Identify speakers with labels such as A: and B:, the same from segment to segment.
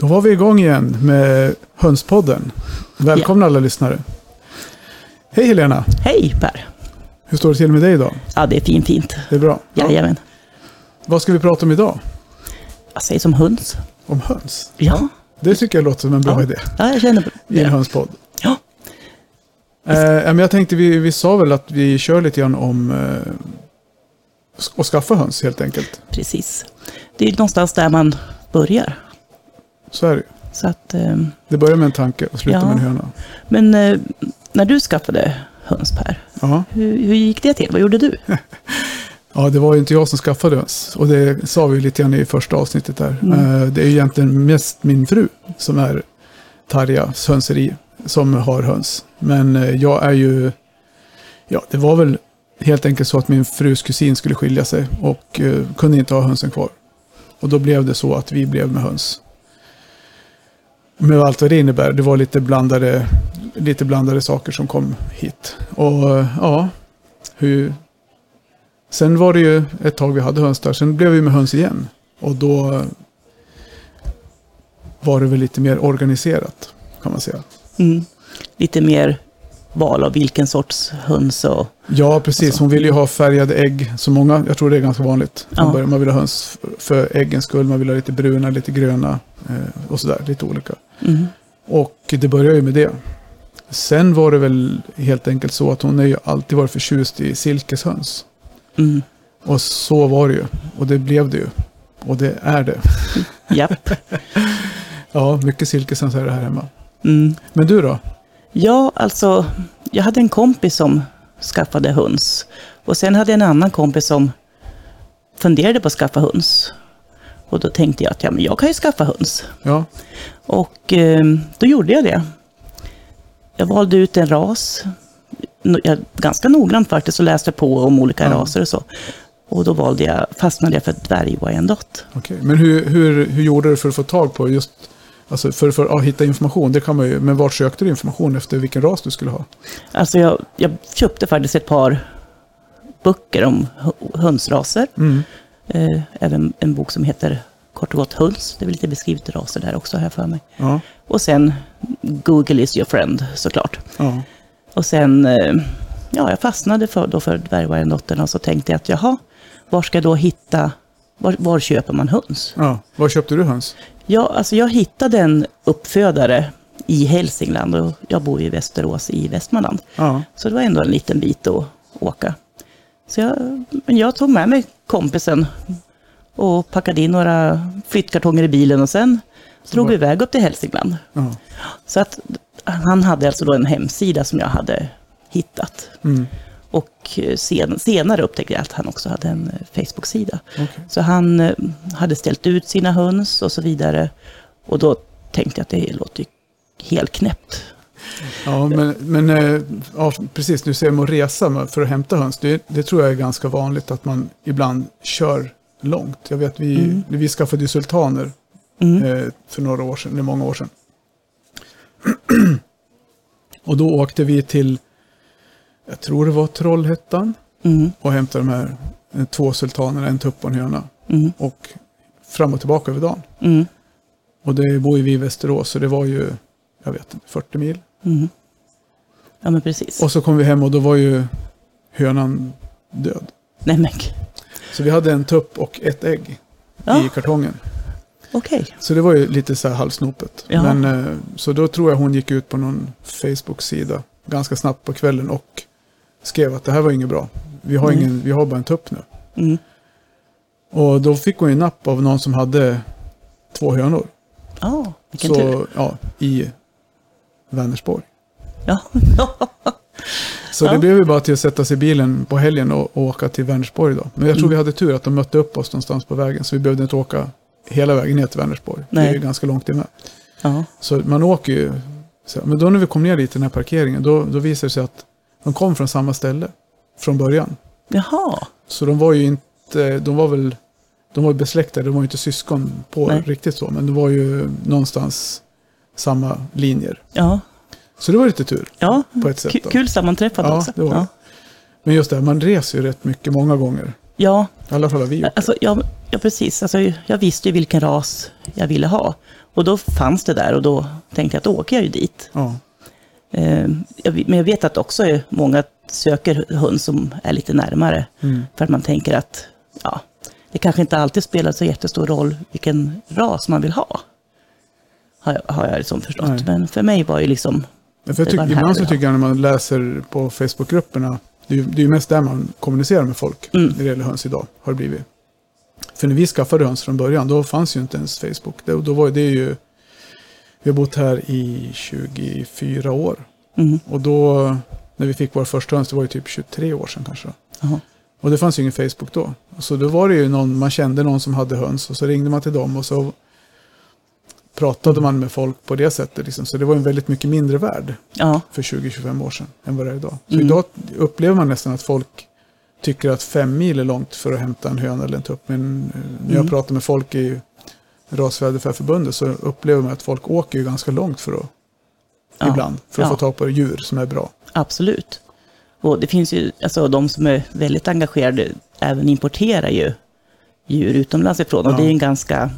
A: Då var vi igång igen med Hönspodden. Välkomna alla lyssnare. Hej Helena!
B: Hej Per!
A: Hur står det till med dig idag?
B: Ja, det är fint fint.
A: Det är bra.
B: Jajamän.
A: Vad ska vi prata om idag?
B: Jag säger som höns.
A: Om höns?
B: Ja,
A: Det tycker jag låter som en bra
B: Ja.
A: idé
B: ja jag känner
A: i en
B: det.
A: hönspodd.
B: Ja.
A: Eh, men jag tänkte, vi, vi sa väl att vi kör lite grann om eh, att skaffa höns helt enkelt.
B: Precis. Det är ju någonstans där man börjar.
A: Så är det ju.
B: Så att, eh,
A: Det börjar med en tanke och slutar
B: Ja.
A: med en höna.
B: men eh, när du skaffade höns Per,
A: Ja.
B: hur, hur gick det till? Vad gjorde du?
A: Ja, det var ju inte jag som skaffade höns. Och det sa vi ju lite grann i första avsnittet där. Eh, Det är ju egentligen mest min fru som är Tarjas hönseri som har höns. Men eh, jag är ju... Ja, det var väl helt enkelt så att min frus kusin skulle skilja sig och eh, kunde inte ha hönsen kvar. Och då blev det så att vi blev med höns. Med allt vad det innebär. Det var lite blandade, lite blandade saker som kom hit. Och eh, ja, hur, Sen var det ju ett tag vi hade höns där, sen blev vi med höns igen. Och då var det väl lite mer organiserat, kan man säga.
B: Mm. Lite mer val av vilken sorts höns och...
A: Ja, precis. Hon ville ju ha färgade ägg, så många, jag tror det är ganska vanligt. från
B: Ja.
A: början. Man vill ha höns f- för äggens skull, man vill ha lite bruna, lite gröna eh, och sådär, lite olika.
B: Mm.
A: Och det började ju med det. Sen var det väl helt enkelt så att hon har ju alltid varit förtjust i silkeshöns.
B: Mm.
A: Och så var det ju. Och det blev det ju. Och det är det.
B: Japp.
A: Ja, mycket silkeshöns är det här hemma.
B: Mm.
A: Men du då?
B: Ja, alltså, jag hade en kompis som skaffade höns. Och sen hade jag en annan kompis som funderade på att skaffa höns. Och då tänkte jag att ja, men jag kan ju skaffa höns.
A: Ja,
B: Och eh, då gjorde jag det. Jag valde ut en ras. No- Jag, ganska noggrant faktiskt och läste på om olika
A: Ja.
B: raser och så. Och då valde jag, fastnade jag för dvärgwyandotte.
A: okej. Men hur, hur, hur gjorde du för att få tag på just, alltså för, för att ja, hitta information, det kan man ju, men vart sökte du information efter vilken ras du skulle ha?
B: Alltså jag, jag köpte faktiskt ett par böcker om hö- hönsraser.
A: Mm.
B: Eh, även en bok som heter kort och gott höns. Det är väl lite beskrivet raser där också, har jag för mig.
A: Ja,
B: Och sen Google is your friend såklart.
A: ja,
B: Och sen, eh, ja, jag fastnade för, då för dvärgvargendottern och så tänkte jag att jaha, var ska jag då hitta, var, var köper man höns?
A: ja. Var köpte du höns?
B: Ja, alltså jag hittade en uppfödare i Hälsingland och jag bor ju i Västerås i Västmanland.
A: Ja,
B: Så det var ändå en liten bit att åka. Så jag, men jag tog med mig kompisen och packade in några flyttkartonger i bilen och sen drog vi iväg upp till Hälsingland.
A: ja.
B: Så att han hade alltså då en hemsida som jag hade hittat.
A: Mm.
B: Och eh, sen, senare upptäckte jag att han också hade en eh, Facebook-sida.
A: Okej.
B: Så han eh, hade ställt ut sina höns och så vidare. Och då tänkte jag att det låter ju helt knäppt.
A: ja men, men eh, ja, precis, nu säger man att resa med- för att hämta höns, det, det tror jag är ganska vanligt att man ibland kör långt. Jag vet, vi, vi skaffade ju sultaner
B: Mm.
A: eh, för några år sedan, eller många år sedan. och då åkte vi till, jag tror det var Trollhättan,
B: Mm,
A: och hämtade de här eh, två sultanerna, en tupp och en höna.
B: mm,
A: Och fram och tillbaka över dagen.
B: mm,
A: Och det bor ju vi i Västerås, så det var ju, jag vet inte, 40 mil.
B: mm. Ja, men precis.
A: Och så kom vi hem och då var ju hönan död.
B: Nej, men g-
A: Så vi hade en tupp och ett ägg i
B: Ja.
A: kartongen.
B: okej.
A: Så det var ju lite så här halvsnopet.
B: Ja.
A: Men, eh, så då tror jag hon gick ut på någon Facebook-sida ganska snabbt på kvällen och skrev att det här var inget bra. Vi har,
B: Nej.
A: ingen, vi har bara en tupp nu.
B: Mm.
A: Och då fick hon ju napp av någon som hade två hönor.
B: Ja, vilken tur.
A: Så, ja, I Vänersborg.
B: Ja,
A: Så det
B: Ja.
A: blev ju bara till att sätta sig i bilen på helgen och, och åka till Vänersborg då. Men jag tror
B: Mm.
A: vi hade tur att de mötte upp oss någonstans på vägen. Så vi behövde inte åka hela vägen ner till Vänersborg. Det är
B: Nej.
A: ju ganska långt det med.
B: ja.
A: Så man åker ju. Så, men då när vi kom ner dit till den här parkeringen, då, då visade det sig att de kom från samma ställe från början.
B: Jaha,
A: Så de var ju inte, de var väl, de var ju besläktade, de var ju inte syskon på
B: Nej.
A: riktigt så, men det var ju någonstans samma linjer.
B: ja.
A: Så det var lite tur
B: ja.
A: på ett sätt.
B: Ku-
A: då.
B: Kul sammanträffande
A: Ja,
B: också.
A: det var
B: ja.
A: Men just det, här, man reser ju rätt mycket många gånger.
B: ja,
A: I alla fall har vi gjort.
B: alltså jag, ja, precis. Alltså, jag visste ju vilken ras jag ville ha. Och då fanns det där och då tänkte jag att då åker jag ju dit.
A: Ja.
B: Eh, jag vet- Men jag vet att också är- många söker hund som är lite närmare.
A: Mm.
B: För att man tänker att ja, det kanske inte alltid spelar så jättestor roll vilken ras man vill ha. Har jag, har jag liksom förstått.
A: Nej.
B: Men för mig var ju liksom,
A: Ja, För jag
B: Det
A: tycker-
B: var en
A: ibland så
B: härlig
A: tycker jag när man läser på Facebookgrupperna, det är ju det är ju mest där man kommunicerar med folk
B: Mm.
A: när det gäller höns idag, har det blivit. För när vi skaffade höns från början, då fanns ju inte ens Facebook. Då, då var det ju, vi har bott här i 24 år.
B: mm,
A: Och då, när vi fick vår första höns, det var ju typ 23 år sedan kanske.
B: jaha,
A: Och det fanns ju ingen Facebook då. Så då var det ju någon, man kände någon som hade höns och så ringde man till dem och så pratade man med folk på det sättet. Liksom. Så det var ju en väldigt mycket mindre värld
B: ja,
A: för 20-25 år sedan än vad det är idag. Så
B: Mm.
A: idag upplever man nästan att folk tycker att fem mil är långt för att hämta en höna eller en tupp. Men eh, när jag
B: Mm.
A: pratar med folk i Rasfjäderfäförbundet så upplever man att folk åker ju ganska långt för att,
B: Ja.
A: ibland, för att
B: Ja.
A: få tag på djur som är bra.
B: absolut. Och det finns ju, alltså de som är väldigt engagerade även importerar ju djur utomlands ifrån. Och
A: Ja.
B: det är en ganska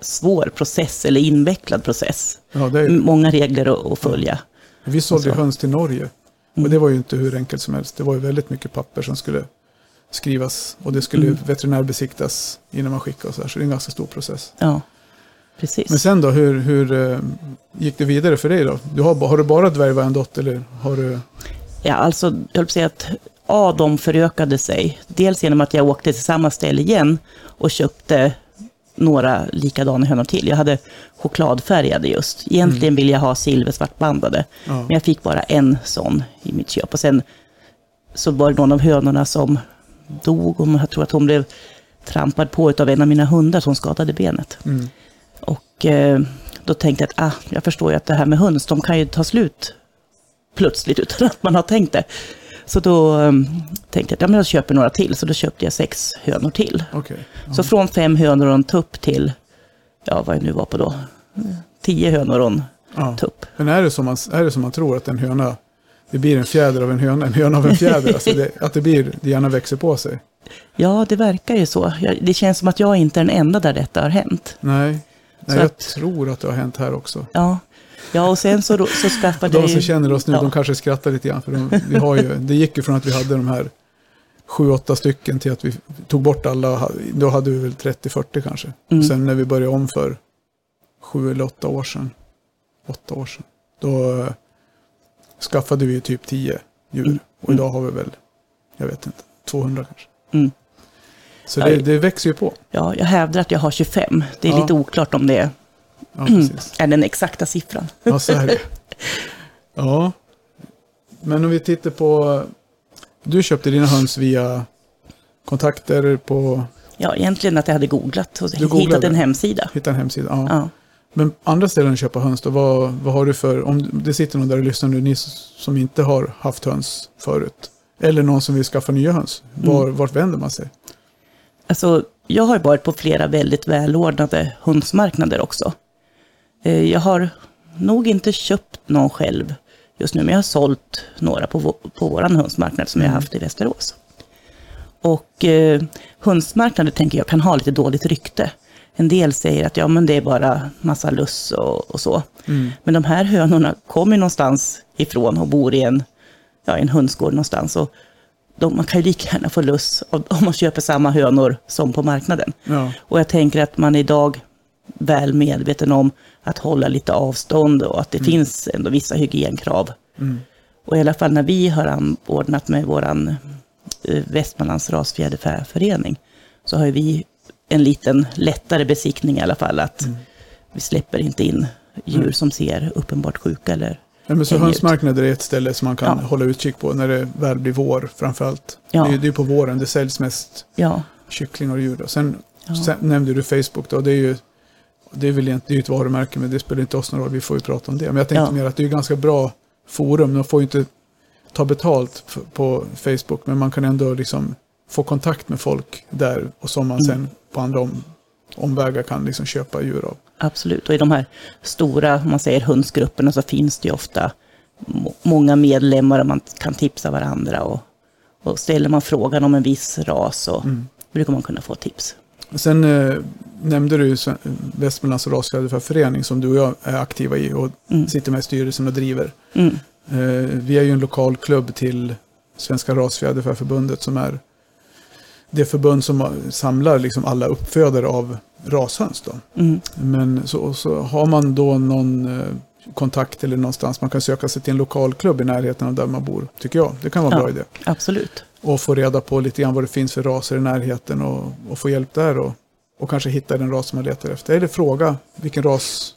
B: svår process, eller invecklad process.
A: Ja, det är, ju-
B: Många regler att, att följa.
A: vi sålde ju
B: Mm. alltså.
A: höns till Norge och
B: Mm.
A: det var ju inte hur enkelt som helst. Det var ju väldigt mycket papper som skulle skrivas och det skulle ju
B: Mm.
A: veterinärbesiktas innan man skickade och så här. Så det är en ganska stor process.
B: Ja, precis.
A: Men sen då, hur, hur eh, gick det vidare för dig då? Du har, har du bara dvärgvärndott eller har du...
B: Ja, alltså, jag höll på att säga att A, de förökade sig. Dels genom att jag åkte till samma ställe igen och köpte några likadana hönor till. Jag hade chokladfärgade just. Egentligen ville jag ha silversvartbandade,
A: Ja,
B: men jag fick bara en sån i mitt köp. Och sen så var det någon av hönorna som dog och jag tror att hon blev trampad på av en av mina hundar som skadade benet.
A: mm,
B: Och eh, då tänkte jag att ah, jag förstår ju att det här med höns, de kan ju ta slut plötsligt utan att man har tänkt det. Så då eh, tänkte jag att ja, men jag köper några till, så då köpte jag sex hönor till.
A: okej. Ja.
B: Så från fem hönor och en tupp till, ja vad jag nu var på då, tio hönor och en
A: ja.
B: tupp.
A: Men är det, som man, är det som man tror att en höna, det blir en fjäder av en höna, en höna av en fjäder? Alltså det, att det blir, det gärna växer på sig?
B: Ja, det verkar ju så. Jag, det känns som att jag inte är den enda där detta har hänt.
A: Nej, Nej
B: Så
A: jag
B: att-
A: tror att det har hänt här också.
B: Ja, ja och sen så, då- så skaffade jag
A: De
B: ju...
A: som känner oss nu,
B: ja.
A: de kanske skrattar lite grann. För de, vi har ju, det gick ju från att vi hade de här sju, åtta stycken till att vi tog bort alla. Då hade vi väl 30-40 kanske.
B: Mm.
A: Sen när vi började om för sju eller åtta år sedan, åtta år sedan, då eh, skaffade vi ju typ 10 djur.
B: Mm.
A: Och idag har vi väl, jag vet inte, 200 kanske.
B: Mm.
A: Så det,
B: Ja.
A: det växer ju på.
B: Ja, jag hävdar att jag har 25. Det är
A: Ja.
B: lite oklart om det
A: Ja,
B: Mm.
A: precis.
B: är den exakta siffran.
A: Ja, så är det. Ja. Men om vi tittar på... Du köpte dina höns via kontakter på...
B: Ja, egentligen att jag hade googlat och hittat
A: googlade?
B: en hemsida.
A: Hitta en hemsida. Ja.
B: Ja.
A: Men andra ställen att köpa höns då? Vad, vad har du för... Om det sitter någon där och lyssnar nu, ni som inte har haft höns förut. Eller någon som vill skaffa nya höns. Var, Vart vänder man sig?
B: Alltså, jag har varit på flera väldigt välordnade hundsmarknader också. Eh, Jag har nog inte köpt någon själv just nu, men jag har sålt några på, vå- på vår hundsmarknad som jag har haft i Västerås. Och eh, hundsmarknader tänker jag kan ha lite dåligt rykte. En del säger att ja, men det är bara massa luss och, och så. Men de här hönorna kommer ju någonstans ifrån och bor i en, ja, i en hönsgård någonstans. Och de, man kan ju lika gärna få luss av- om man köper samma hönor som på marknaden.
A: Ja.
B: Och jag tänker att man är idag väl medveten om att hålla lite avstånd och att det finns ändå vissa hygienkrav. Och i alla fall när vi har anordnat med vår Västmanlands rasfjäderfäförening så har ju vi en liten lättare besiktning i alla fall att vi släpper inte in djur som ser uppenbart sjuka eller
A: Nej, men så
B: Häng ut.
A: hönsmarknader är ett ställe som man kan
B: Ja.
A: hålla utkik på när det väl blir vår framförallt.
B: Ja.
A: Det är ju det är på våren det säljs mest
B: ja,
A: kycklingar och djur. Då. Sen,
B: Ja.
A: sen nämnde du Facebook. Då. Det är ju det är väl egentligen det är ju ett varumärke, men det spelar inte oss någon roll. Vi får ju prata om det. Men jag tänkte
B: Ja.
A: mer att det är ju ganska bra forum. De får ju inte ta betalt f- på Facebook, men man kan ändå liksom få kontakt med folk där och som
B: Mm.
A: man sen på andra om, omvägar kan liksom köpa djur av.
B: Absolut, och i de här stora, om man säger hundsgrupperna, så finns det ju ofta må- många medlemmar och man kan tipsa
A: Mm.
B: varandra. Och, och ställer man frågan om en viss ras så brukar man kunna få tips.
A: Sen eh, nämnde du ju Sve- Västmanlands raskaliförförening som du och jag är aktiva i och
B: Mm.
A: sitter med i styrelsen och driver.
B: Mm.
A: Eh, vi är ju en lokal klubb till Svenska rasfjäderfäförbundet som är det förbund som samlar liksom alla uppfödare av rashöns. Då.
B: Mm.
A: Men så, och så har man då någon eh, kontakt eller någonstans man kan söka sig till en lokal klubb i närheten av där man bor, tycker jag. Det kan vara en
B: Ja.
A: bra idé.
B: Absolut.
A: Och få reda på lite grann vad det finns för raser i närheten och, och få hjälp där och, och kanske hitta den ras som man letar efter. Eller fråga vilken ras,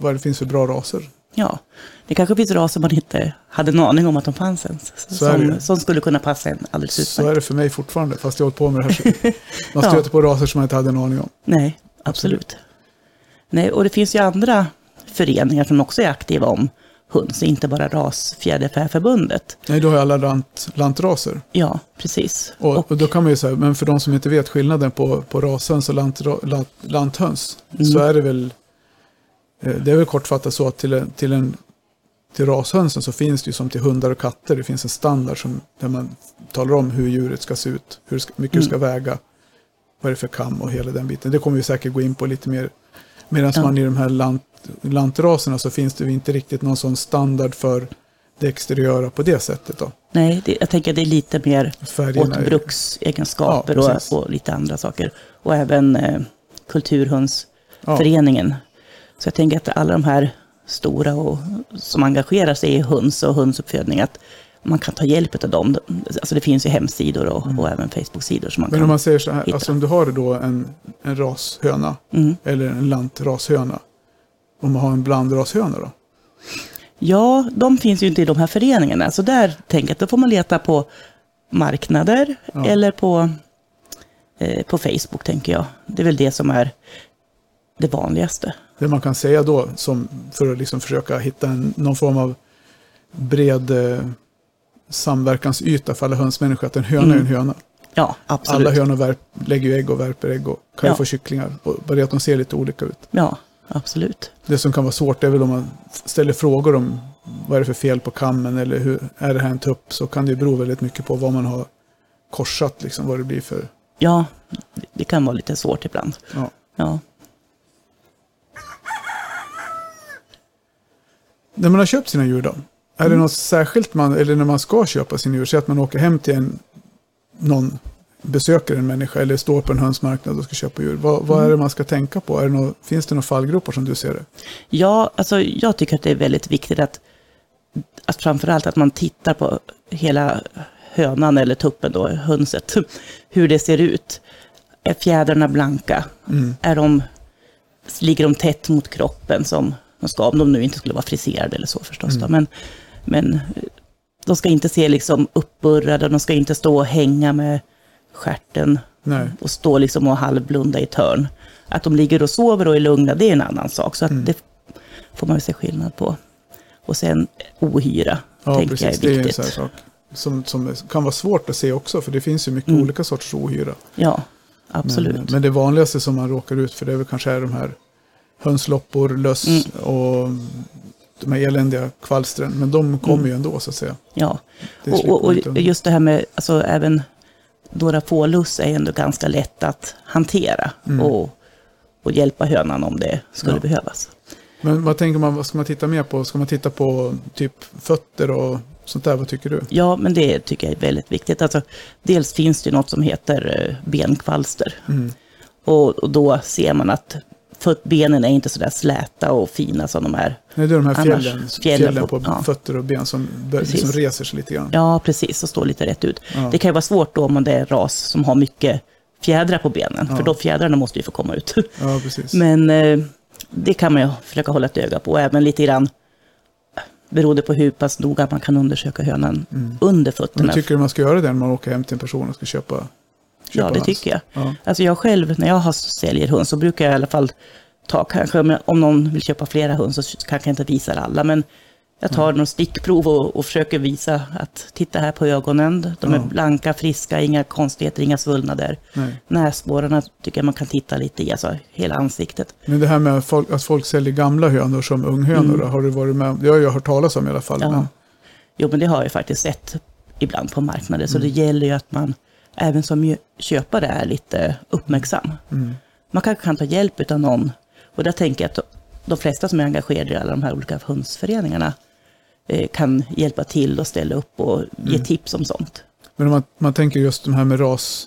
A: vad det finns för bra raser.
B: Ja, det kanske finns raser man inte hade en aning om att de fanns ens.
A: Så är det.
B: Som, som skulle kunna passa en alldeles
A: Så är
B: utmärkt.
A: det för mig fortfarande, fast jag har hållit på med det här så Man
B: Ja.
A: stöter på raser som man inte hade en aning om.
B: Nej, absolut. Nej, och det finns ju andra föreningar som också är aktiva om höns, inte bara Rasfjäderfäförbundet.
A: Nej, då har jag alla lant, lantraser.
B: Ja, precis.
A: Och,
B: Och-
A: och då kan man ju säga, men för de som inte vet skillnaden på, på rashöns och lantra, lant, lanthöns så
B: Mm.
A: är det väl, eh, det är väl kortfattat så att till, en- till, en, till rashönsen så finns det ju som till hundar och katter, det finns en standard som, där man talar om hur djuret ska se ut, hur ska, mycket det ska
B: Mm.
A: väga, vad det är för kam och hela den biten. Det kommer vi säkert gå in på lite mer. Medan
B: Ja.
A: man i de här lant, lantraserna så finns det ju inte riktigt någon sån standard för det exteriöra på det sättet. Då.
B: Nej, det, jag tänker att det är lite mer
A: Färgerna
B: åt
A: är-
B: bruksegenskaper
A: Ja,
B: och,
A: precis.
B: och lite andra saker. Och även eh,
A: Ja.
B: Kulturhundsföreningen. Så jag tänker att alla de här stora och, som engagerar sig i höns och hönsuppfödning, att man kan ta hjälp av dem. Alltså det finns ju hemsidor och, och även Facebook-sidor som man
A: Men
B: kan...
A: om man säger så här,
B: hitta.
A: alltså om du har då en, en rashöna
B: Mm.
A: eller en lantrashöna. Om man har en blandrashöna då?
B: Ja, de finns ju inte i de här föreningarna, så där tänker jag att då får man leta på marknader
A: Ja.
B: eller på, eh, på Facebook, tänker jag. Det är väl det som är det vanligaste.
A: Det man kan säga då som, för att liksom försöka hitta en, någon form av bred eh, samverkansyta för alla hönsmänniskor. Att en höna är en höna.
B: Ja, Mm. absolut.
A: Alla hönor värp, lägger ju ägg och värper ägg och kan
B: Ja.
A: ju få kycklingar. Och bara det att de ser lite olika ut.
B: Ja, absolut.
A: Det som kan vara svårt är väl om man ställer frågor om vad är det för fel på kammen eller hur, är det här en tupp? Så kan det ju bero väldigt mycket på vad man har korsat, liksom, vad det blir för...
B: Ja, det- det kan vara lite svårt ibland.
A: Ja.
B: Ja,
A: När man har köpt sina djur då? Är
B: Mm.
A: det något särskilt man, eller när man ska köpa sina djur, så att man åker hem till en, någon, besöker en människa eller står på en hönsmarknad och ska köpa djur. Vad, vad är
B: Mm.
A: det man ska tänka på? Är det nå- finns det några fallgropar som du ser det?
B: ja alltså, jag tycker att det är väldigt viktigt att, att framförallt att man tittar på hela hönan eller tuppen då, hönset, hur det ser ut. Är fjädrarna blanka? Är de, ligger de tätt mot kroppen som de ska, om de nu inte skulle vara friserade eller så förstås.
A: Mm.
B: Då. Men, men de ska inte se liksom uppburrade, de ska inte stå och hänga med stjärten
A: Nej.
B: och stå liksom och halvblunda i ett hörn. Att de ligger och sover och är lugna, det är en annan sak. Så att
A: Mm.
B: det får man ju se skillnad på. Och sen ohyra, tänker jag
A: Det
B: är
A: är en
B: viktigt.
A: sån här sak. Som, som är- kan vara svårt att se också, för det finns ju mycket
B: Mm.
A: olika sorters ohyra.
B: ja,
A: Men,
B: absolut.
A: men det vanligaste som man råkar ut för det är väl kanske är de här hönsloppor, löss
B: Mm.
A: och de här eländiga kvalstren. Men de kommer
B: Mm.
A: ju ändå så att säga.
B: ja.
A: Det
B: Och,
A: slipper
B: och,
A: man inte
B: och
A: undan.
B: just det här med, alltså även några få luss är ju ändå ganska lätt att hantera och, och hjälpa hönan om det skulle
A: Mm. Ja.
B: behövas.
A: Men vad tänker man, vad ska man titta mer på? Ska man titta på typ fötter och sånt där? Vad tycker du?
B: Ja, men det tycker jag är väldigt viktigt. Alltså, dels finns det ju något som heter eh, benkvalster.
A: Mm.
B: Och, och då ser man att för benen är inte så där släta och fina som de är.
A: Nej, det är de här
B: Annars,
A: fjällen, fjällen,
B: fjällen
A: på
B: på- ja.
A: fötter och ben som, bör-
B: Precis.
A: som reser sig lite grann.
B: Ja, precis, och står lite rätt ut.
A: Ja.
B: Det kan ju vara svårt då om det är en ras som har mycket fjädrar på benen,
A: Ja.
B: för då fjädrarna måste ju få komma ut.
A: Ja, precis.
B: Men eh, det kan man ju försöka hålla ett öga på, och även lite grann eh, beroende på hur pass noga man kan undersöka hönan under fötterna.
A: Mm. Men tycker du man ska göra det när man åker hem till en person och ska köpa, köpa
B: Ja, det
A: höns?
B: tycker jag.
A: Ja.
B: Alltså jag själv, när jag har, säljer hund så brukar jag i alla fall ta, kanske om, jag, om någon vill köpa flera hund så kanske jag inte visar alla, men jag tar några stickprov och, och försöker visa att titta här på ögonen, de är
A: Ja.
B: blanka, friska, inga konstigheter, inga svullnader.
A: Nej.
B: Näsborrarna tycker jag man kan titta lite i, alltså hela ansiktet.
A: Men det här med att folk, att folk säljer gamla hönor som unghönor, då, har du varit med om? Det har jag hört talas om i alla fall.
B: Mm. Ja.
A: Men, Mm.
B: Jo, men det har jag ju faktiskt sett ibland på marknaden, så det gäller ju att man även som ju köpare är lite uppmärksam.
A: Mm.
B: Man kanske kan ta hjälp av någon. Och där tänker jag att de flesta som är engagerade i alla de här olika hundsföreningarna eh, kan hjälpa till och ställa upp och ge
A: Mm.
B: tips om sånt.
A: Men om man, man tänker just de här med ras.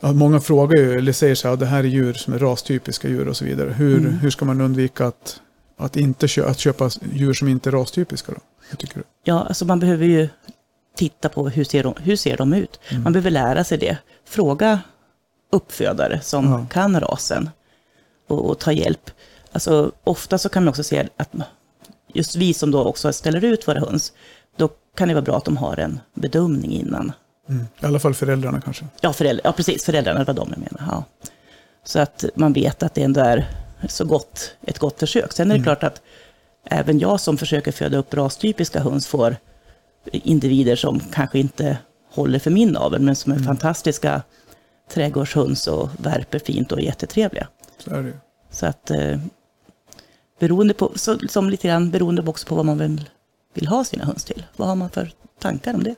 A: Ja, många frågar ju, eller säger så här, "Ja, det här är djur som är rastypiska djur och så vidare. Hur,
B: Mm.
A: hur ska man undvika att, att, inte kö, att köpa djur som inte är rastypiska då? Hur tycker du?
B: Ja, alltså man behöver ju titta på hur ser de, hur ser de ut. Man behöver lära sig det. Fråga uppfödare som
A: Ja.
B: kan rasen och, och ta hjälp. Alltså, ofta så kan man också se att just vi som då också ställer ut våra höns, då kan det vara bra att de har en bedömning innan.
A: Mm. I alla fall föräldrarna kanske.
B: Ja, föräldrar, ja precis, föräldrarna, det var de jag menade. Ja. Så att man vet att det ändå är så gott, ett gott försök. Sen är
A: Mm.
B: det klart att även jag som försöker föda upp rastypiska höns får individer som kanske inte håller för min avel, men
A: Mm.
B: som är fantastiska trädgårdshöns och värper fint och är jättetrevliga.
A: Så är det ju.
B: Så att eh, beroende på, så, som lite grann beroende också på vad man vill, vill ha sina höns till. Vad har man för tankar om det?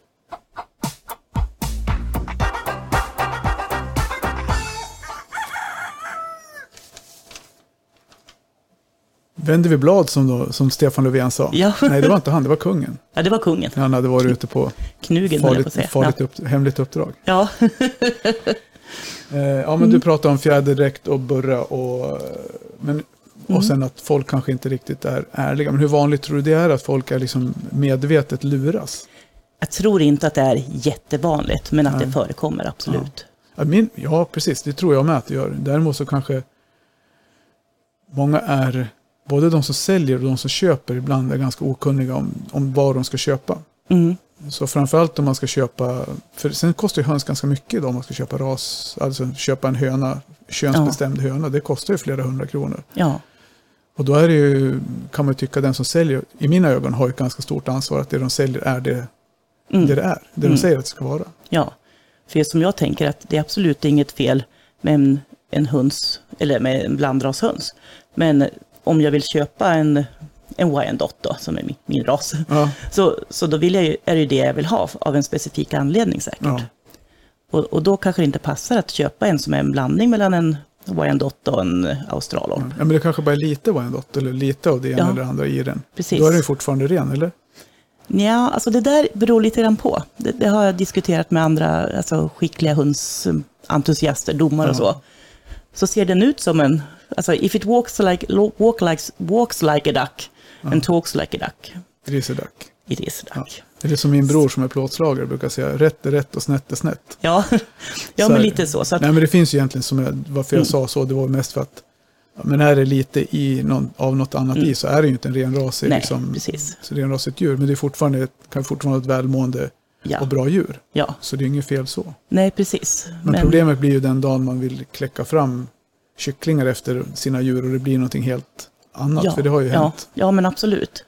A: Vänder vi blad som, då, som Stefan Löfven sa?
B: Ja.
A: Nej, det var inte han, det var kungen.
B: Ja, det var kungen.
A: Han hade varit ute på
B: Knugen, höll jag på att säga.
A: farligt, farligt upp, hemligt uppdrag.
B: Ja. ja.
A: Eh, ja, men du pratade om fjäderdräkt och burra och, eh, men, och sen att folk kanske inte riktigt är ärliga. Men hur vanligt tror du det är att folk är liksom medvetet luras?
B: Jag tror inte att det är jättevanligt, men att det förekommer absolut.
A: Ja, min, ja, precis, det tror jag med att det gör. Däremot så kanske många är, både de som säljer och de som köper ibland är ganska okunniga om, om vad de ska köpa.
B: Mm.
A: Så framförallt om man ska köpa, för sen kostar ju höns ganska mycket då, om man ska köpa ras, alltså köpa en höna, könsbestämd höna, det kostar ju flera hundra kronor.
B: Ja.
A: Och då är det ju, kan man ju tycka den som säljer, i mina ögon har ju ett ganska stort ansvar att det de säljer är det
B: Mm.
A: det, det är, det de säger att det ska vara.
B: ja. För som jag tänker att det är absolut inget fel med en, en höns, eller med en blandrashöns. Men om jag vill köpa en, en Wyandotte då, som är min, min ras,
A: Ja,
B: så, så då vill jag ju, är det ju det jag vill ha av en specifik anledning säkert.
A: ja.
B: Och, och då kanske det inte passar att köpa en som är en blandning mellan en Wyandotte och en australorp.
A: ja, men det kanske bara är lite Wyandotte eller lite av det ena
B: Ja.
A: eller det andra i den.
B: Precis.
A: Då är den ju fortfarande ren, eller?
B: Ja, alltså det där beror lite grann på. Det, det har jag diskuterat med andra alltså skickliga hundsentusiaster, domare och så. Så ser den ut som en, alltså if it walks like, lo- walk like, walks like a duck and talks like a duck,
A: Grisedack.
B: it is a duck.
A: Eller som min bror som är plåtslagare brukar säga, rätt är rätt och snett är snett.
B: Ja, ja,
A: Så
B: men
A: här-
B: lite så. så att, Mm.
A: Nej, men det finns ju egentligen, som jag, varför jag sa så, det var mest för att ja, men är det lite i någon, av något annat i så är det ju inte en renrasig,
B: Mm. Nej,
A: liksom,
B: precis.
A: så renrasigt djur. Men det är fortfarande, ett- kan fortfarande vara ett välmående och
B: ja,
A: bra djur.
B: ja,
A: Så det är inget fel så.
B: nej precis.
A: Men, problemet blir ju den dagen man vill kläcka fram kycklingar efter sina djur och det blir någonting helt annat. för det har ju hänt.
B: Ja, ja men absolut.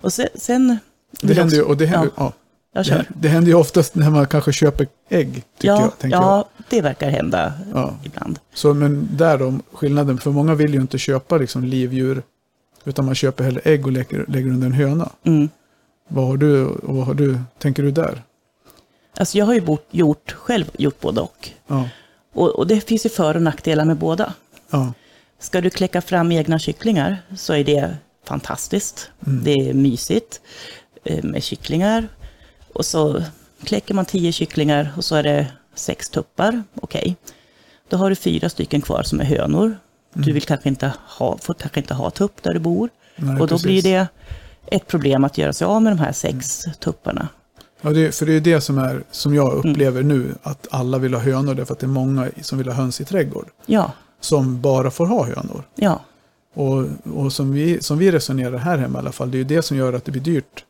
B: Och sen... sen
A: Det händer ju, och det händer, ja.
B: jag
A: det,
B: kör.
A: det händer ju oftast när man kanske köper ägg, tycker
B: ja,
A: jag. Tänker
B: ja, det verkar hända
A: jag. Ja.
B: ibland.
A: Så men där då, skillnaden, för många vill ju inte köpa liksom livdjur, utan man köper hellre ägg och lägger, lägger under en höna.
B: Mm.
A: Vad har du, och vad har du, tänker du där?
B: Alltså jag har ju bort, gjort, själv gjort både och.
A: Ja,
B: och. Och det finns ju för och nackdelar med båda.
A: ja,
B: Ska du kläcka fram egna kycklingar så är det fantastiskt.
A: Mm.
B: Det är mysigt eh, med kycklingar. Och så kläcker man tio kycklingar och så är det sex tuppar. Okej. Då har du fyra stycken kvar som är hönor.
A: Mm.
B: Du vill kanske inte ha, får kanske inte ha tupp där du bor.
A: Nej,
B: och då
A: precis.
B: blir det ett problem att göra sig av med de här sex tupparna.
A: ja det, för det är ju det som, är, som
B: Mm.
A: jag upplever nu, att alla vill ha hönor därför att det är många som vill ha höns i trädgård,
B: Ja,
A: som bara får ha hönor.
B: ja,
A: Och, och som, vi, som vi resonerar här hemma i alla fall, det är ju det som gör att det blir dyrt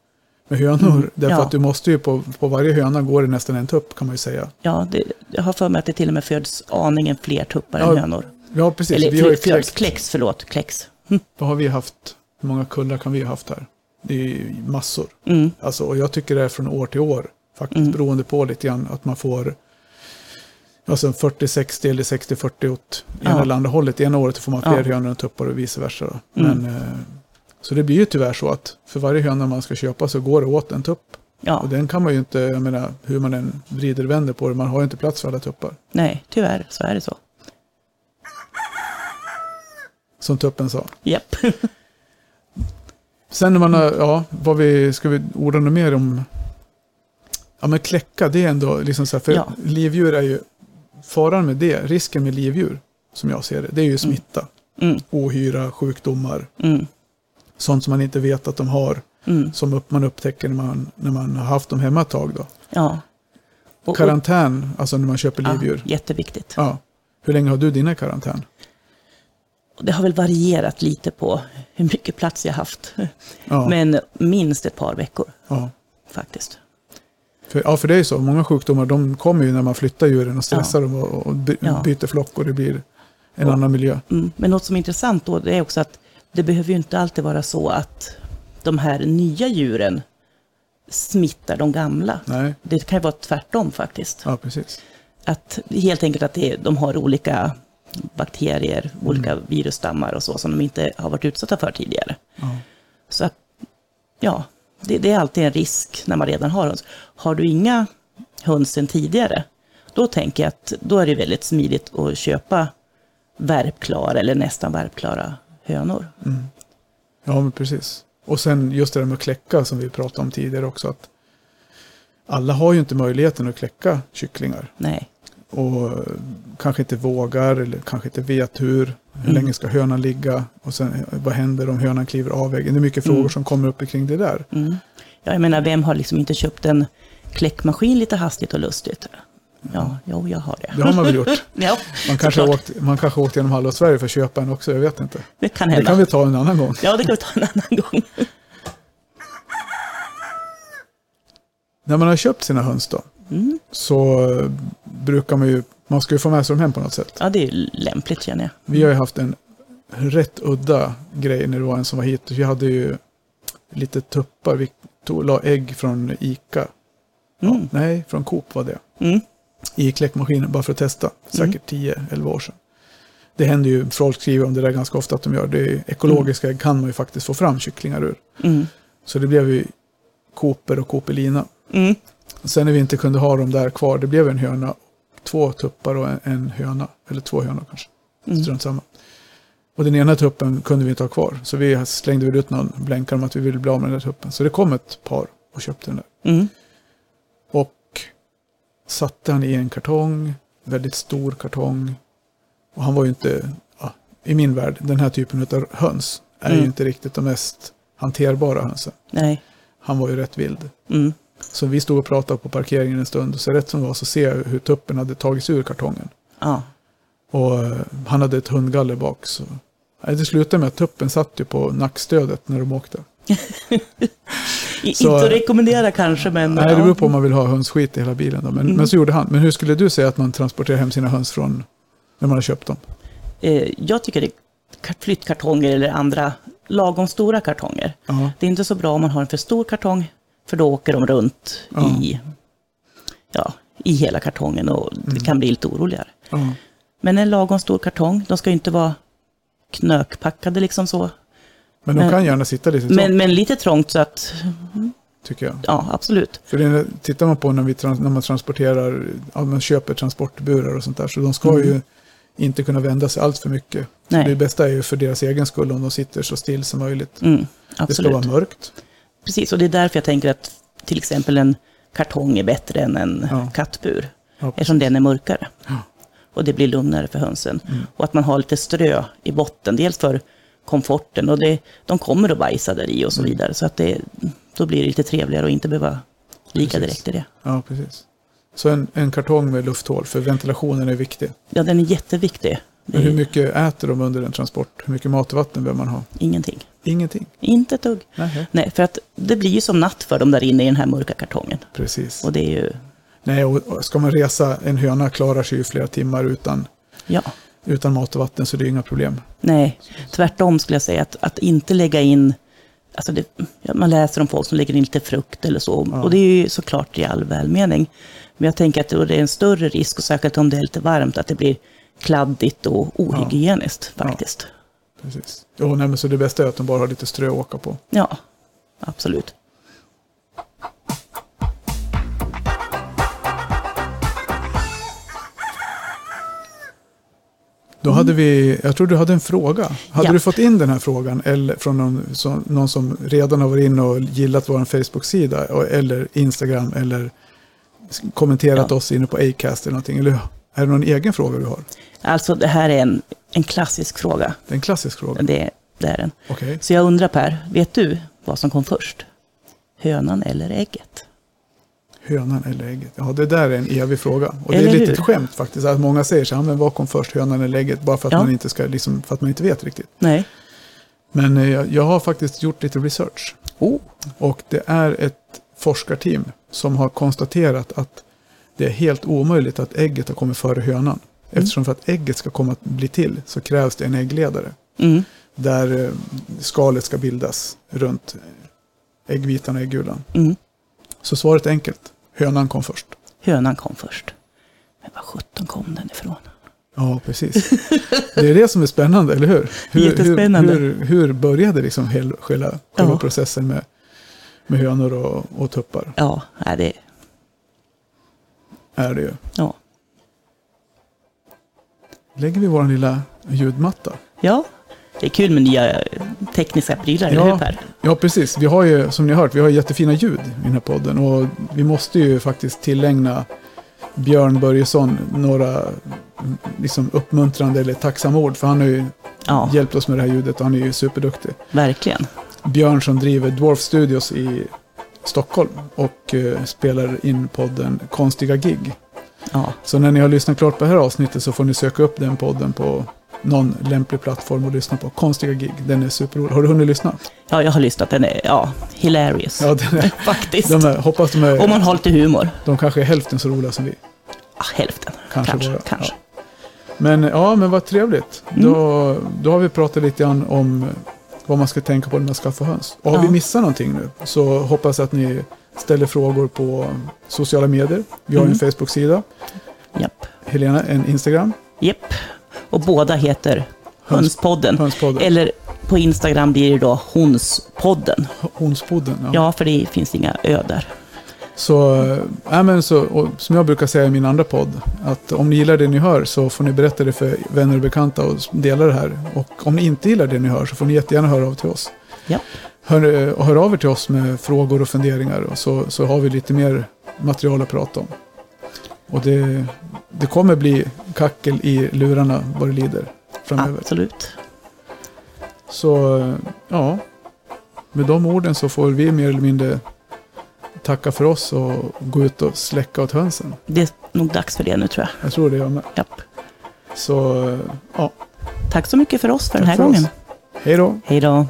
A: med hönor. Därför
B: Mm. ja.
A: att du måste ju på, på varje höna går det nästan en tupp kan man ju säga.
B: Ja, det, jag har för mig att det till och med föds aningen fler tuppar
A: Ja,
B: än hönor.
A: Ja, precis.
B: Eller
A: vi har ju
B: föds-
A: kläckt-
B: kläcks, förlåt, kläcks. Hm,
A: Vad har vi haft? Hur många kullar kan vi ha haft här? Det är ju massor.
B: Mm,
A: Alltså, och jag tycker det är från år till år. Faktiskt beroende på lite grann att man får alltså 40-60 eller 60-40 åt ena
B: Ja.
A: eller andra hållet. Ena året får man fler
B: Ja.
A: hönor än tuppar och vice versa. då.
B: Mm.
A: Men, eh, så det blir ju tyvärr så att för varje höna man ska köpa så går det åt en tupp.
B: Ja,
A: Och den kan man ju inte, jag menar, hur man än vrider och vänder på det, man har ju inte plats för alla tuppar.
B: nej, tyvärr så är det så.
A: Som tuppen sa.
B: Japp.
A: Sen när man har, ja, vad vi, ska vi orda något mer om? Ja men kläcka, det är ändå liksom så här, för
B: Ja.
A: livdjur är ju, faran med det, risken med livdjur, som jag ser det, det är ju smitta.
B: Mm,
A: Ohyra, sjukdomar,
B: mm,
A: sånt som man inte vet att de har,
B: mm.
A: som upp, man upptäcker när man, när man har haft dem hemma ett tag då.
B: Ja. Och- Ah.
A: Karantän, alltså när man köper livdjur.
B: Ja, jätteviktigt.
A: Ja. Hur länge har du dina i karantän?
B: Och Det har väl varierat lite på hur mycket plats jag haft.
A: Ja,
B: Men minst ett par veckor
A: ja.
B: faktiskt.
A: För, ja, för det är ju så. Många sjukdomar de kommer ju när man flyttar djuren och stressar dem och, och by,
B: Ja.
A: byter flock och det blir en
B: Ja.
A: annan miljö.
B: Mm. Men något som är intressant då det är också att det behöver ju inte alltid vara så att de här nya djuren smittar de gamla.
A: Nej,
B: Det kan ju vara tvärtom faktiskt.
A: ja precis.
B: Att, helt enkelt att det, är- de har olika bakterier,
A: Mm.
B: olika virusstammar och så som de inte har varit utsatta för tidigare.
A: Ja.
B: Så att, ja, det, det är alltid en risk när man redan har höns. Har du inga höns sen tidigare, då tänker jag att då är det väldigt smidigt att köpa värpklara eller nästan värpklara hönor.
A: Mm. ja, men precis. Och sen just det där med att kläcka som vi pratade om tidigare också. att Alla har ju inte möjligheten att kläcka kycklingar
B: Nej,
A: och eh, kanske inte vågar eller kanske inte vet hur. Hur
B: Mm.
A: länge ska hönan ligga? Och sen eh, vad händer om hönan kliver av väggen? Det är mycket frågor
B: Mm.
A: som kommer upp kring det där.
B: mm. ja, jag menar vem har liksom inte köpt en kläckmaskin lite hastigt och lustigt? Ja, jo, jag har det.
A: Det har man väl gjort.
B: Ja,
A: Man kanske, har
B: såklart.
A: åkt, man kanske har åkt genom halva Sverige för att köpa en också, jag vet inte.
B: Det kan
A: Det
B: hända.
A: kan vi ta en annan gång.
B: Ja, det kan vi ta en annan gång.
A: När man har köpt sina höns då,
B: Mm.
A: så eh, brukar man ju, man ska ju få med sig dem hem på något sätt.
B: Ja, det är ju lämpligt känner jag.
A: Vi har ju haft en rätt udda grej när det var en som var hit. Vi hade ju lite tuppar, vi tog, la ägg från Ica.
B: Mm.
A: Ja, nej, från Coop var det.
B: Mm.
A: I kläckmaskinen, bara för att testa. Säkert 10-11 år sedan. Det händer ju, folk skriver om det där ganska ofta att de gör. Det är ju- ekologiska ägg kan man ju faktiskt få fram kycklingar ur.
B: Mm.
A: Så det blev ju Cooper och Coopelina.
B: Mm.
A: Sen när vi inte kunde ha dem där kvar, det blev en höna, två tuppar och en, en höna. Eller två hönor kanske,
B: Mm.
A: strunt samma. Och den ena tuppen kunde vi inte ha kvar, så vi slängde väl ut någon blänkare om att vi ville bli av med den där tuppen. Så det kom ett par och köpte den där.
B: Mm.
A: Och satte han i en kartong, väldigt stor kartong. Och han var ju inte, ja, i min värld, den här typen av höns är ju
B: Mm.
A: inte riktigt de mest hanterbara hönsen.
B: Nej.
A: Han var ju rätt vild.
B: Mm.
A: Så vi stod och pratade på parkeringen en stund och så rätt som det var så ser jag hur tuppen hade tagits ur kartongen.
B: Ja.
A: Och eh, han hade ett hundgaller bak. Så. Nej, Det slutade med att tuppen satt ju på nackstödet när de åkte.
B: I-
A: Så-
B: inte att rekommendera kanske, men...
A: Nej, det
B: ja.
A: beror på om man vill ha hönsskit i hela bilen. Då. Men,
B: Mm.
A: men så gjorde han. Men hur skulle du säga att man transporterar hem sina höns från när man har köpt dem?
B: Eh, Jag tycker det är kar- flyttkartonger eller andra lagom stora kartonger.
A: Ja,
B: Det är inte så bra om man har en för stor kartong, för då åker de runt
A: Ja.
B: i, ja, i hela kartongen och det
A: Mm.
B: kan bli lite oroligare.
A: ja,
B: Men en lagom stor kartong, de ska ju inte vara knökpackade liksom så.
A: men de
B: Men-
A: kan gärna sitta lite
B: Men,
A: trångt
B: men lite trångt så att,
A: tycker jag.
B: ja absolut.
A: För det, tittar man på när, vi, trans- när man transporterar, ja, man köper transportburar och sånt där, så de ska
B: Mm.
A: ju inte kunna vända sig allt för mycket.
B: Nej.
A: Det bästa är ju för deras egen skull om de sitter så still som möjligt.
B: Mm,
A: Det ska
B: absolut.
A: vara mörkt.
B: Precis, och det är därför jag tänker att till exempel en kartong är bättre än en
A: Ja.
B: kattbur.
A: Ja,
B: Eftersom den är mörkare.
A: Ja. Mm.
B: Och det blir lugnare för hönsen. Och att man har lite strö i botten, dels för komforten och det, de kommer att bajsa där i och
A: Mm.
B: så vidare. Så att det, då blir det lite trevligare och inte behöva lika
A: Precis.
B: direkt i det.
A: ja precis. Så en, en kartong med lufthål, för ventilationen är viktig.
B: Ja, den är jätteviktig. Det
A: Men
B: är
A: hur mycket äter de under en transport? Hur mycket mat och vatten behöver man ha?
B: ingenting.
A: Ingenting.
B: Inte ett dugg.
A: Nej.
B: Nej, för att det blir ju som natt för dem där inne i den här mörka kartongen.
A: Precis.
B: Och det är ju,
A: Nej, och och ska man resa, en höna klarar sig ju flera timmar utan,
B: ja.
A: utan mat och vatten, så det är ju inga problem.
B: Nej, tvärtom skulle jag säga att, att inte lägga in, alltså det, ja, man läser om folk som lägger in lite frukt eller så,
A: Ja.
B: och det är ju såklart i all välmening. Men jag tänker att då det är en större risk, och särskilt om det är lite varmt, att det blir kladdigt och ohygieniskt
A: Ja.
B: faktiskt.
A: Precis. Jo, nej, men så det bästa är att de bara har lite strö att åka på.
B: Ja, absolut.
A: Då hade vi, jag tror du hade en fråga. Hade
B: Mm. Ja.
A: du fått in den här frågan eller från någon som, någon som redan har varit inne och gillat vår Facebook-sida och- eller Instagram eller s- kommenterat
B: Ja.
A: oss inne på Acast eller någonting? Eller är det någon egen fråga du har?
B: Alltså det här är en, en klassisk fråga.
A: Det är en klassisk fråga.
B: Det, det är den.
A: Okej.
B: Så jag undrar Per, vet du vad som kom först? Hönan eller ägget?
A: Hönan eller ägget? Ja, det där är en evig fråga. Och det är
B: Eller
A: lite ett
B: hur?
A: skämt faktiskt. Att många säger så här, men vad kom först, hönan eller ägget? Bara för att,
B: Ja.
A: man, inte ska, liksom, för att man inte vet riktigt.
B: Nej.
A: Men eh, jag, jag har faktiskt gjort lite research.
B: Oh.
A: Och det är ett forskarteam som har konstaterat att det är helt omöjligt att ägget har kommit före hönan. Eftersom för att ägget ska komma att bli till så krävs det en äggledare.
B: Mm.
A: Där eh, skalet ska bildas runt äggvitan och äggulan.
B: Mm.
A: Så svaret är enkelt. Hönan kom först.
B: Hönan kom först. Men var sjutton kom den ifrån?
A: Ja, precis. Det är det som är spännande, eller hur? hur
B: Jättespännande.
A: Hur, hur, hur började liksom hel, själva, själva
B: Ja.
A: processen med, med hönor och, och tuppar?
B: Ja, nej, det...
A: Är det ju.
B: Ja.
A: Lägger vi vår lilla ljudmatta?
B: ja, det är kul med nya eh, tekniska prylar, eller hur
A: Ja,
B: Per?
A: ja, precis. Vi har ju, som ni har hört, vi har jättefina ljud i den här podden. Och vi måste ju faktiskt tillägna Björn Börjesson några mm, liksom, uppmuntrande eller tacksamma ord. För han har ju
B: Ja,
A: hjälpt oss med det här ljudet och han är ju superduktig.
B: verkligen.
A: Björn som driver Dwarf Studios i Stockholm och eh, spelar in podden Konstiga Gig.
B: Ja,
A: Så när ni har lyssnat klart på det här avsnittet så får ni söka upp den podden på någon lämplig plattform och lyssna på. Konstiga Gig, den är superrolig. Har du hunnit lyssna?
B: ja jag har lyssnat. Den är ja, hilarious,
A: Ja, den är,
B: faktiskt.
A: de är, hoppas de
B: Om
A: är,
B: man har lite humor.
A: de kanske är hälften så roliga som vi.
B: Ah, hälften,
A: Kanske
B: kanske. kanske,
A: bara, Men ja, men vad trevligt.
B: Mm.
A: Då, då har vi pratat lite grann om vad man ska tänka på när man skaffar höns. Och har
B: Ja.
A: vi missat någonting nu så hoppas jag att ni ställer frågor på sociala medier. Vi har
B: Mm.
A: en Facebook-sida,
B: Japp.
A: Helena en Instagram,
B: Japp. Och båda heter Hönspodden.
A: Hönspodden,
B: Eller på Instagram blir det då Honspodden.
A: Honspodden. Ja.
B: Ja, för det finns inga ö där.
A: Så, äh, men så och som jag brukar säga i min andra podd, att om ni gillar det ni hör så får ni berätta det för vänner och bekanta och dela det här. Och om ni inte gillar det ni hör så får ni jättegärna höra av till oss.
B: Ja.
A: Hör, eh, och hör av er till oss med frågor och funderingar och så, så har vi lite mer material att prata om. Och det, det kommer bli kackel i lurarna vad det lider framöver.
B: Absolut.
A: Så eh, ja, med de orden så får vi mer eller mindre tacka för oss och gå ut och släcka åt hönsen.
B: Det är nog dags för det nu tror jag.
A: Jag tror det jag med.
B: Japp.
A: Så eh, ja,
B: Tack så mycket för oss för den
A: Tack
B: här
A: för oss.
B: gången.
A: hej då!
B: Hej då.